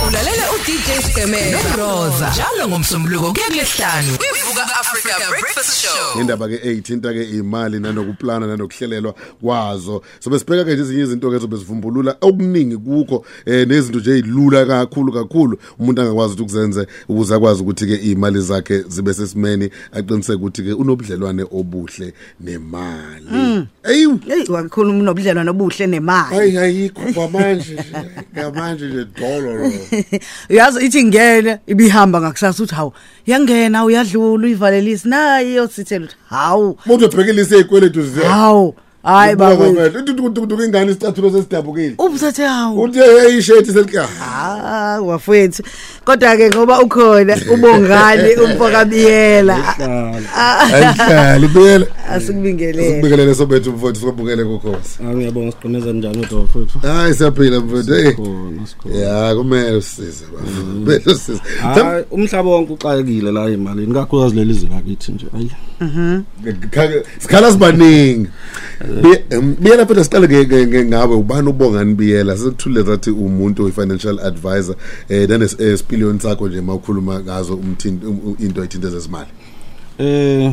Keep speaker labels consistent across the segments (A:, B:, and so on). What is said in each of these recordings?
A: lalela uDJ Skemela
B: Roza njalo ngomsombuluko kuyakulesihlanu
A: Vuka Africa Breakfast Show
C: indaba ke 18 ke imali nanokuplana nanokuhlelelwa kwazo so besibheka ke nje izinye izinto ke zobezivumbulula okuningi kukho eh nezinto nje ezilula kakhulu kakhulu umuntu angakwazi ukuthi kuzenze ukuze akwazi ukuthi ke imali zakhe zibe sesimeni aqiniseke ukuthi ke unobudlelwane obuhle nemali eyu
D: Hey wakhuluma unobudlelwano obuhle nemali.
C: hayi ayikho kwamanje nje ngamanje nje dollar
D: Uyazi ithi ngene ibihamba ngakusasa uthi hawu yangena uyadlula uyivalelisi nayo sithele uthi hawu
C: umuntu ubhekile isikweletu zise
D: hawu hayi baba
C: babantu ingane isicathulo sesidabukile
D: ubuthathe hawu
C: uthi hey ishethi selika
D: ah wafethu kodwa ke ngoba ukhona ubongani Ah, umfokabiyela
C: ayihlali buyela
D: ah, asikubingelele
C: Sikubingelele sobethu mfowethu sikubukele kokhosi.
E: Ah ngiyabonga siqineza njani udokotela.
C: Hayi siyaphila mfowethu. hey.
E: Khona sikhona.
C: Ya kumele usize baba. Kumele usize.
E: Hayi umhlaba wonke uxakekile la emalini kakhulukazi leli zwe lakithi nje. Ayi.
C: Sikha- Sikhala sibaningi. Bi- em, Biyela phela siqale nge- nge- nge- ngawe ubani ubongani biyela sekuthule that umuntu oyi-financial advisor eh nanesipiliyoni sakho nje mawukhuluma ngazo umthinto um- into ayithinto zezimali.
E: Eh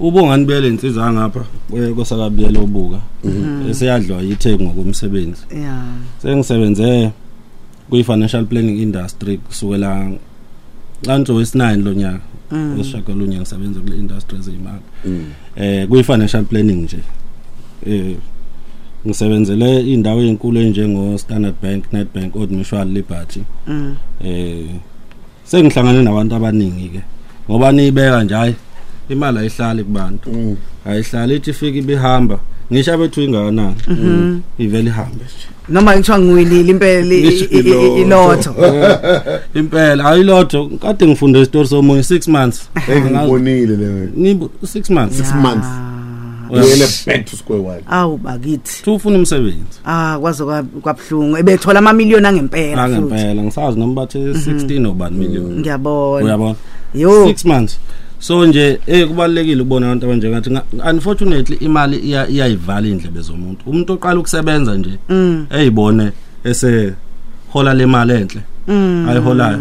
E: ubongani bele insizwa ngapha eh, kwe- kwesakabiyela obuka. Eseyadlwa Eh, yithe ngokomsebenzi.
D: ya
E: Sengisebenze kwi financial planning industry kusukela kanto wesi9 lo nyaka. Esishakalunye ngisebenza kule industry ezimali. Eh kwi financial planning nje. Eh ngisebenzele indawo ezinkulu enjengo Standard Bank, Nedbank, Old Mutual, Liberty.
D: mm
E: eh sengihlangane nabantu abaningi ke ngoba niyibeka nje hayi imali ayihlali kubantu
C: Mm.
E: ayihlali ithi fika ibihamba ngisho abethu ingakanani ivele ihambe nje
D: noma ngithiwa ngiwinile impela i-
E: Ngisho
D: i- i- ilotho
E: impela ayilotho kade ngifunde isitori somunye 6 months
C: Engibonile leyo.
E: nibo 6 months
C: 6 months. Biyela back to square one.
D: awu bakithi
E: two ufuna umsebenzi
D: ah kwaze kwa- kwabhlungu ebethola ama million angempela futhi Mhm.
E: angempela ngisazi noma bathe 16 obani million
D: ngiyabona
E: uyabona
D: yo
E: 6 months so nje eh kubalekile ukubona abantu abanje ngathi nga- unfortunately imali iya- iyayivala indlebe zomuntu umuntu oqala ukusebenza nje
D: mm
E: eyibone ese hola le mali enhle
D: mm
E: ayiholayo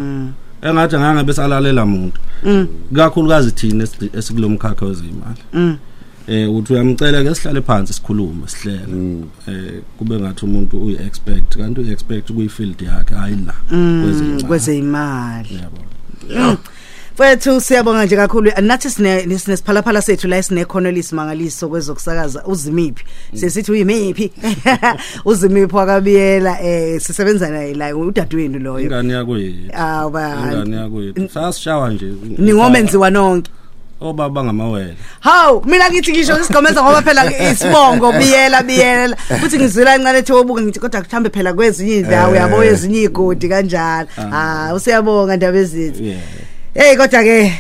E: engathi anganga besalalela umuntu
D: mm
E: kakhulukazi thina esi- esikulomkhakha wezimali
D: mm
E: eh uthi uyamcela ke sihlale phansi sikhulume sihlele eh kube ngathi umuntu uyi expect kanti uyi expect kuyi field yakhe hayi la
D: mm kwezeyimali Fethu siyabonga nje kakhulu nathi sine sinesiphalaphala sethu la sinekhono lesisimangaliso kwezokusakaza uzimiphi sesithi uyimiphi uzimiphi wakabiyela eh sisebenza naye la udadewenu loyo
E: ingane yakwethu
D: ah ba
E: ingane
D: Ah,
E: yakwethu sasishawa nje
D: ningomenziwa nonke
E: obaba bangamawele
D: Haw, mina ngithi ngisho isigomeza ngoba phela isibongo biyela biyela. Futhi ngizwela incane ethi wobuka ngithi kodwa kuhambe phela kwezinye indawo yabo ezinye igodi kanjalo. Ah, usiyabonga ndaba ezithi.
E: yeah
D: Hey kodwa ke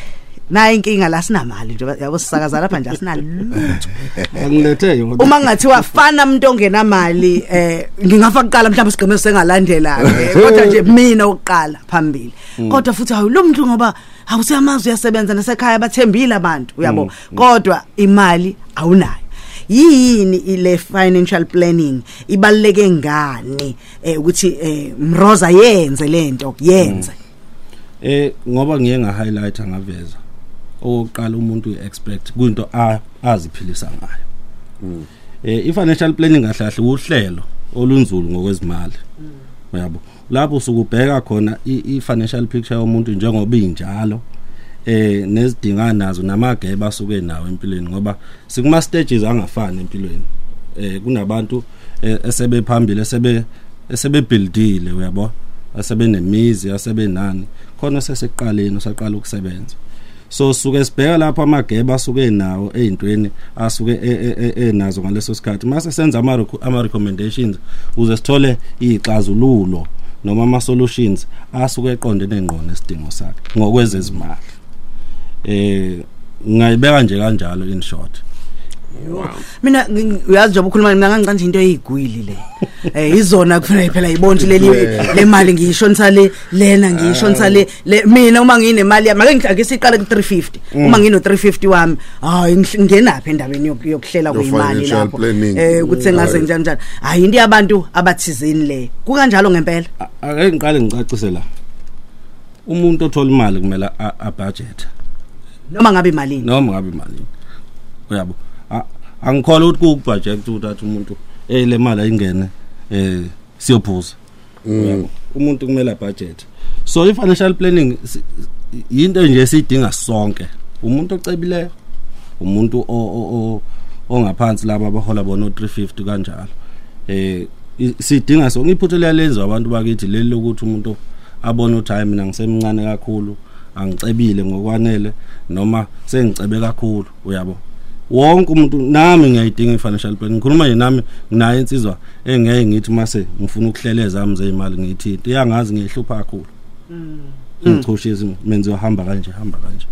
D: nayi inkinga la sinamali nje yabo sisakaza lapha nje asinalutho.
E: angilethe yona
D: Uma ngathiwa fana umuntu ongenamali eh ngingafa kuqala mhlawumbe isigomeza sengalandela ke. Kodwa nje mina oqala phambili. Kodwa futhi hawu lo muntu ngoba awusiyamazi uyasebenza nasekhaya bathembile abantu uyabo. Kodwa imali awunayo. yini ile financial planning ibaluleke ngani eh ukuthi eh Mroza yenze lento yenze
E: eh ngoba ngiye nga highlight ngaveza oqala umuntu uexpect kuyinto a- aziphilisa ngayo eh ifinancial planning kahle kahle uhlelo olunzulu ngokwezimali uyabo lapho usukubheka khona i- i-financial picture yomuntu njengoba injalo eh nezidinga nazo namagebe asuke nawo empilweni ngoba sikuma stages angafani empilweni eh kunabantu eh, esebephambili esebe esebebuildile uyabo asebenemizi asebenani khona sesiqaleni usaqala ukusebenza so suke sibheka lapho amagebe asuke nawo ezintweni asuke e- e- e- enazo ngaleso sikhathi mase senza ama reco- ama recommendations uze sithole izixazululo noma ama solutions asuke eqondene ngqono esidingo sakhe ngokwezezimali eh ngayibeka nje kanjalo in short
D: mina ngi- uyazi njengoba ukhuluma mina ngangicanje into eyigwili le eh izona kufanele phela ibonje leli le mali ngiyishonisa le lena ngiyishonisa le le- mina uma nginemali yami ake ngidake siqale ku 350
C: Mm.
D: uma ngino 350 wami hayi ngihl- ngingenaphi endabeni yok- yokuhlela kwemali
C: financial
D: lapho
C: planning.
D: eh ukuthi sengaze
C: Right.
D: njani njani hayi into yabantu abathizini le kukanjalo ngempela
E: A- ake ngiqale ngicacise la umuntu othola imali kumele a- abudget
D: noma ngabe imali
E: noma ngabe imali uyabo A- angikholwa ukuthi kukubudget ukuthi athi umuntu eh le mali ayingene eh siyophuza Uyabo? umuntu kumele abudget so i-financial planning si- yinto nje esiyidinga sonke umuntu ocebileyo umuntu o- o- o- ongaphansi laba abahola bona o350 kanjalo eh i- sidinga so ngiphutho liyalenziwa abantu bakithi leli lokuthi umuntu abone ukuthi hayi mina ngisemncane kakhulu angicebile ngokwanele noma sengicebe kakhulu uyabo wonke umuntu nami ngiyayidinga i-financial plan ngikhuluma nje nami nginayo insizwa engeke ngithi mase ngifuna ukuhlela ezami zey'mali ngiyithinte iyangazi ngiyihlupha kakhulu ngichoshisa menziwa hamba kanje hamba kanje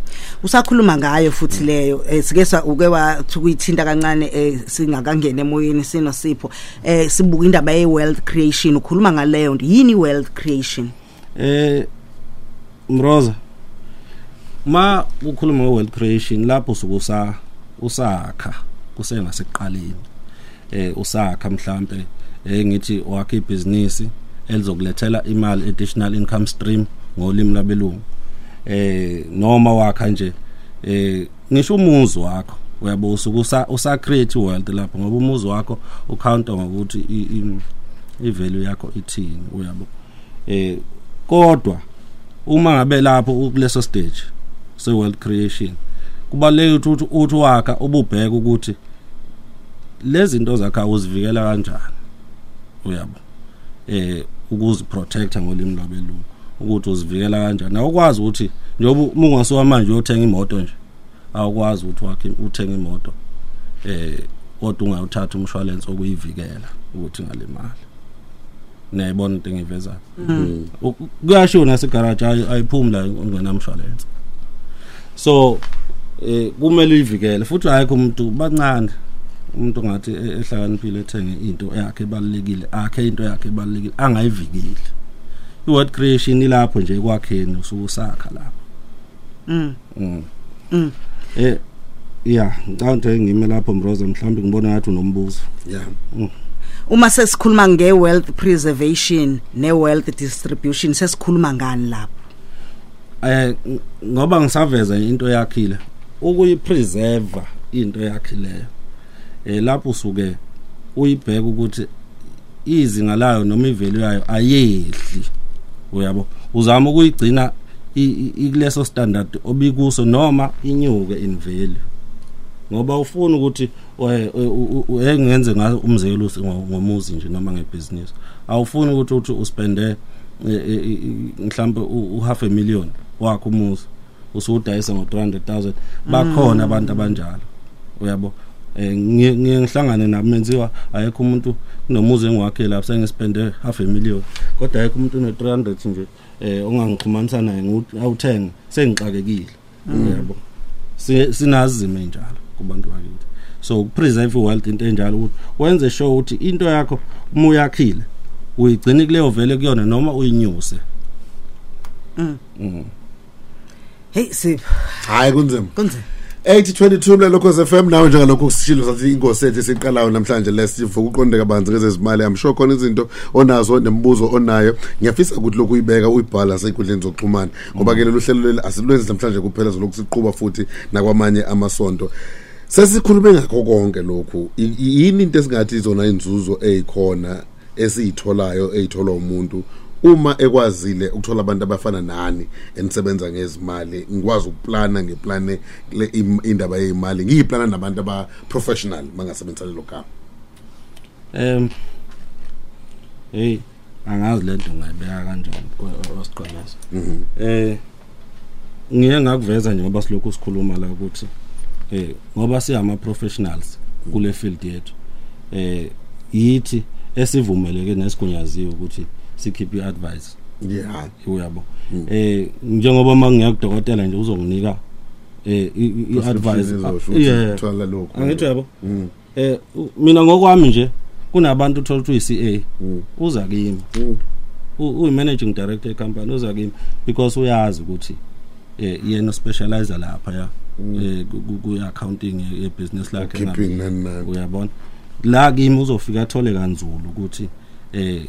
D: usakhuluma ngayo futhi leyo eh, sike sa- uke wathi kuyithinta kancane eh, singakangena emoyeni sino sipho eh sibuka indaba ye-wealth creation ukhuluma ngaleyo nto yini i-wealth creation
E: eh mroza ma ukhuluma ngewealth creation lapho sukusa usakha kusengasekuqaleni eh usakha mhlambe eh ngithi wakhe ibusiness elizokulethela imali additional income stream ngolimi labelungu eh noma wakha nje eh ngisho umuzi wakho uyabusa ukusa usa create wealth lapho ngoba umuzi wakho ucounta ngokuthi i- i- i-value yakho ithini uyabo eh kodwa uma ngabe lapho ukuleso stage se world creation kubaleke ukuthi uthi wakha ububheka ukuthi lezi zinto zakha uzivikela kanjani uyabo eh ukuziprotecta ngolimi lwabelungu ukuthi uzivikela kanjani awukwazi ukuthi njengoba uma ungasuka manje uyothenga imoto nje awukwazi ukuthi wakhe uthenge imoto eh kodwa ungayuthatha umshwalense okuyivikela ukuthi ngalemali nayibona into engivezayo U- kuyashiwo nasegaraji ayi- ayiphumi la ungenamshwalense so eh kumele uyivikele futhi ayikho umuntu bancane umuntu ngathi e- ehlakaniphile ethenge into yakhe ebalekile akhe into yakhe ebalekile angayivikeli iword creation ilapho nje ekwakheni usuku sakha lapho
D: Mm.
E: mm
D: Mm.
E: eh ya ngicabanga ukuthi ngime lapho mroza mhlawumbe ngibona ngathi unombuzo Mm.
C: yeah
D: uma sesikhuluma nge-wealth preservation ne-wealth distribution sesikhuluma ngani lapho
E: eh ng- ngoba ngisaveza nje into yakhile ukuyipreserve into yakhileyo eh lapho usuke uyibheka ukuthi izinga layo noma ivalue yayo ayehli uyabo uzama ukuyigcina i- i- ikuleso standard obikuso noma inyuke in value ngoba ufuna ukuthi eh, u- u- u- engenze ngayo umzekelo usi- ngo- ngomuzi nje noma ngebusiness awufuni ukuthi uthi uspende e, mhlambe uhalf a million wakho umuzi usudayisa ngo300000 bakhona abantu abanjalo uyabo eh ngiye ngiye ngihlangane namenziwa ayekho umuntu kunomuzi engiwakhe lapha sengispende half a million kodwa ayekho umuntu no300 nje eh ongangixhumanisa naye ngiwuthi awuthenge sengixakekile uyabo Si- sinazime njalo kubantu bakithi so ukupreserve wealth into enjalo ukuthi wenze sure ukuthi into yakho uma uyakhile uyigcine kuleyo vele kuyona noma uyinyuse
D: heyi sipho
C: hayi kunzima
D: kunzima
C: 822 mlalokhozi FM nawe njengalokho kusishilo sathi ingosi ethu siqalayo namhlanje lesivuka uqonde kabanzi ngezezimali I'm sure khona izinto onazo nemibuzo onayo ngiyafisa ukuthi lokhu uyibeka uyibhala senkundleni zokuxhumana ngoba ke lelo hlelo leli asilwenzi namhlanje kuphela lokhu siqhuba futhi nakwamanye amasonto sesikhulume ngakho konke lokhu I- i- yini into esingathi izona inzuzo ezikhona esiyitholayo ezitholwa umuntu uma ekwazile ukuthola abantu abafana nani enisebenza ngezimali ngikwazi ukuplana ngeplane le im- indaba yezimali ngiyiplana nabantu abaprofessional mangasebenzisa lelo gama
E: em hey angazi lento ngayibeka kanjani wa- wa- wasiqalaza
C: Mhm.
E: eh ngiye ngakuveza nje ngoba silokhu sikhuluma la ukuthi eh ngoba siyama professionals kule field yethu eh yithi esivumeleke nesigunyaziwe ukuthi sikhiphe iadvice
C: yeah
E: uyabo eh njengoba mangiyakudokotela nje uzonginika eh iadvice
C: izoshuthala lokho
E: angithi yabo eh u- mina ngokwami nje kunabantu uthola ukuthi uyi CA uza kimi
C: Mm.
E: uyi managing director ecompany uza kimi because uyazi ukuthi eh yena specializer lapha ya
C: Mm.
E: eh ku- ku accounting ye business lakhe
C: keeping
E: ngabe-
C: nani nani
E: uyabona la kimi uzofika athole kanzulu ukuthi eh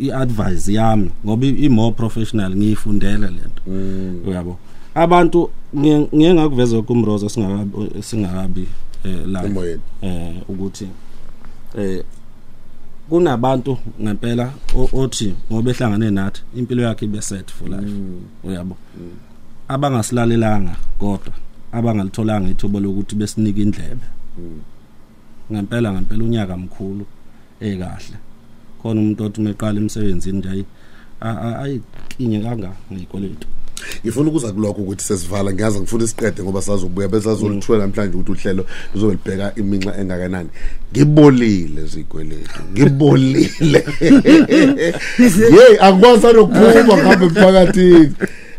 E: iadvice yami ngoba i more professional ngiyifundele lento
C: Mm.
E: uyabo abantu ngiye ngiye ngakuveza kumroza singakabi singakabi eh, la
C: emoyeni
E: eh ukuthi eh kunabantu ngempela o- othi ngoba ehlangane nathi impilo yakhe ibe set for
C: Mm.
E: life uyabo abangasilalelanga kodwa abangalitholanga ithuba lokuthi besinike indlebe ngempela ngempela unyaka mkhulu ekahle khona umuntu othi meqala emsebenzini nje ayi- a- a- ayikinye kanga ngikolelo
C: ngifuna ukuza kulokho ukuthi sesivala ngiyazi ngifuna isiqede ngoba sazobuya bese sazolithula namhlanje ukuthi uhlelo luzolibheka iminxa engakanani ngibolile zikweletu ngibolile hey angikwazi sanokuphuma ngabe emphakathini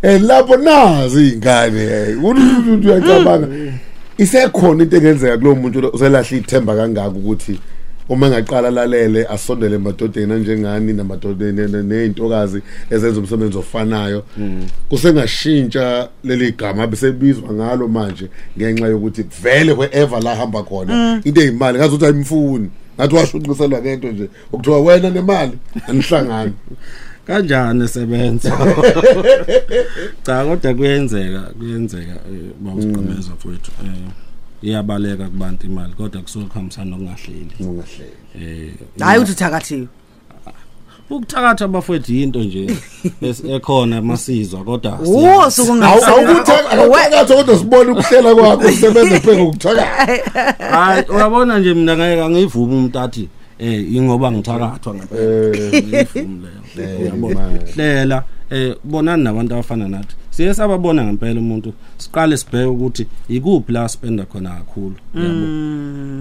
C: and lapho nazi iy'ngane hey umuntu uyacabanga isekhona into engenzeka kulowo muntu lo uselahle ithemba kangaka ukuthi uma engaqala lalele asondele emadodeni anjengani namadodeni ne- ney'ntokazi ezenza umsebenzi ofanayo kusengashintsha leli gama abesebizwa ngalo manje ngenxa yokuthi vele wherever la hamba khona into ey'mali ngazi ukuthi ayimfuni ngathi washunqiselwa ngento nje ukuthiwa wena nemali anihlangani
E: kanjani sebenza cha kodwa kuyenzeka kuyenzeka eh, bawusiqimeza mfowethu eh iyabaleka kubantu imali kodwa kusuke kuhambisana nokungahleli
C: ungahleli
E: eh
D: hhayi ukuthi uthakathiwe
E: ukuthakatha bafowethu yinto nje es- ekhona masizwa kodwa
D: wo
C: awukuthakathwa kodwa sibone ukuhlela kwakho usebenza phe ngokuthakathwa
E: hayi uyabona nje mina ngeke angivumi umuntu athi eh ingoba ngithakathwa ngempela ngivumi
C: Eh,
E: leyo uyabona
C: man.
E: hlela eh bonani nabantu abafana nathi siye sababona ngempela umuntu siqale sibheke ukuthi ikuphi la spenda khona kakhulu yabo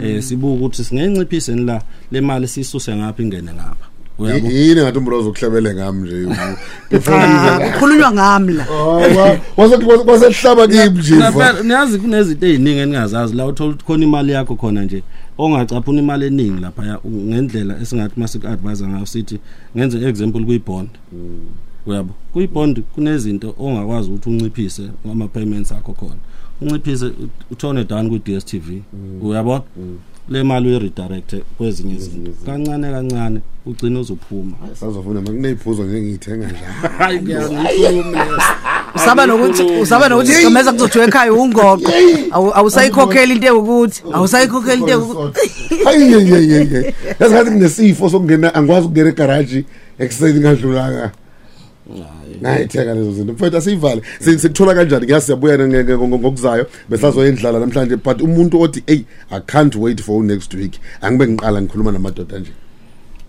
E: eh sibuke ukuthi singenciphise ni la le mali sisuse ngapha ingene ngapha uyabo
C: yini ngathi umroza ukuhlebele ngami nje before
D: Ah, kukhulunywa ngami la
C: wasehlaba kimi nje
E: Ngempela, niyazi kunezinto eziningi eningazazi la uthola ukuthi khona imali yakho khona nje ongacaphuna imali eningi lapha ngendlela esingathi masikuadvise ngayo sithi ngenze example kuyibond uyabo kuyibond kunezinto ongakwazi ukuthi unciphise ngama payments akho khona unciphise ut- uthone down ku DStv uyabona le mali uyiredirect Mm. kwezinye izinto kancane kancane ugcina uzophuma
C: sazofuna ma kuneyiphuzo nje ngiyithenga njani
E: hayi ngiyakhuluma
D: usaba nokuthi usaba nokuthi sigomeza kuzothiwa ekhaya ungoqo Awu- awusayikhokheli into ewukuthi awusayikhokheli into ewukuthi
C: hayeyeyeye yasikhathi kunesifo sokungena angikwazi ukungena egaraji ekuseni ngadlulanga ngayitheka lezo zinto mfethu asiyivale Si- sikuthola kanjani kuya siyabuya nge- nge- ngo- ngokuzayo besazoyendlala namhlanje but umuntu othi eyi i can't wait for next week angibe ngiqala ngikhuluma namadoda nje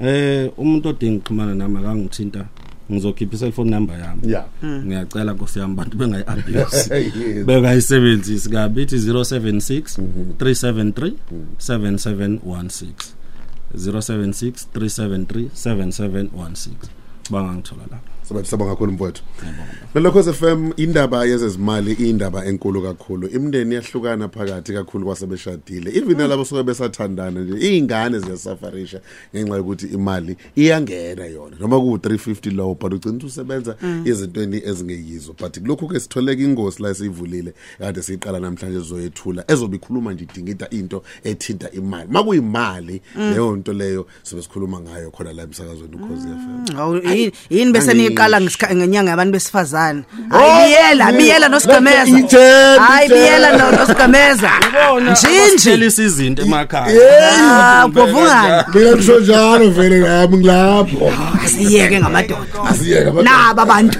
E: Eh umuntu odinga ukuxhumana nami akangithinta ngizokhipha iselfone number yami.
C: Yeah.
D: Hmm.
E: Ngiyacela Nkosi yami bantu bengayiabuse.
C: Yes.
E: Bengayisebenzisi kabi ithi 076
D: Hmm.
E: 373 7716. 076 373 7716. Bangangithola la.
C: sobantu sabangakhulu mfowethu lolokhoze fm indaba yezezimali indaba enkulu kakhulu imndeni iyahlukana phakathi kakhulu kwasebeshadile even nalabo soke besathandana nje iy'ngane ziyasafarisha ngenxa yokuthi imali iyangena yona noma ku-350 low but ugcina ukuthi usebenza ezintweni ezingeyizo but kulokhu-ke sitholeka ingosi la esiyivulile kade siyiqala namhlanje sizoyethula ezobe ikhuluma nje idingida into ethinta imali ma kuyimali leyo nto leyo sobe sikhuluma ngayo khona la emsakazweni ukhozi fm
D: Awu, Oh, yini- yini bese niyiqala ngesikha- ngenyanga yabantu besifazane
C: Oh,
D: hayi biyela
C: yeah.
D: biyela
C: Ithemba,
D: nosigameza hayi
C: ithemba.
D: biyela no- nosigameza njinji
E: Sinjelisa izinto emakhaya.
C: Hey!
D: Ah, ubhovungana
C: mina ngisho njalo vele nami ngilapho
D: asiyeke ngamadoda
C: asiyeke amadoda.
D: naba abantu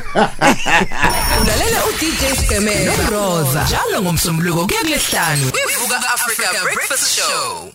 A: Ulalela uDJ Skemelo.
B: Roza njalo ngomsombuluko kuya kulesihlanu
A: Ivuka Africa Breakfast Show.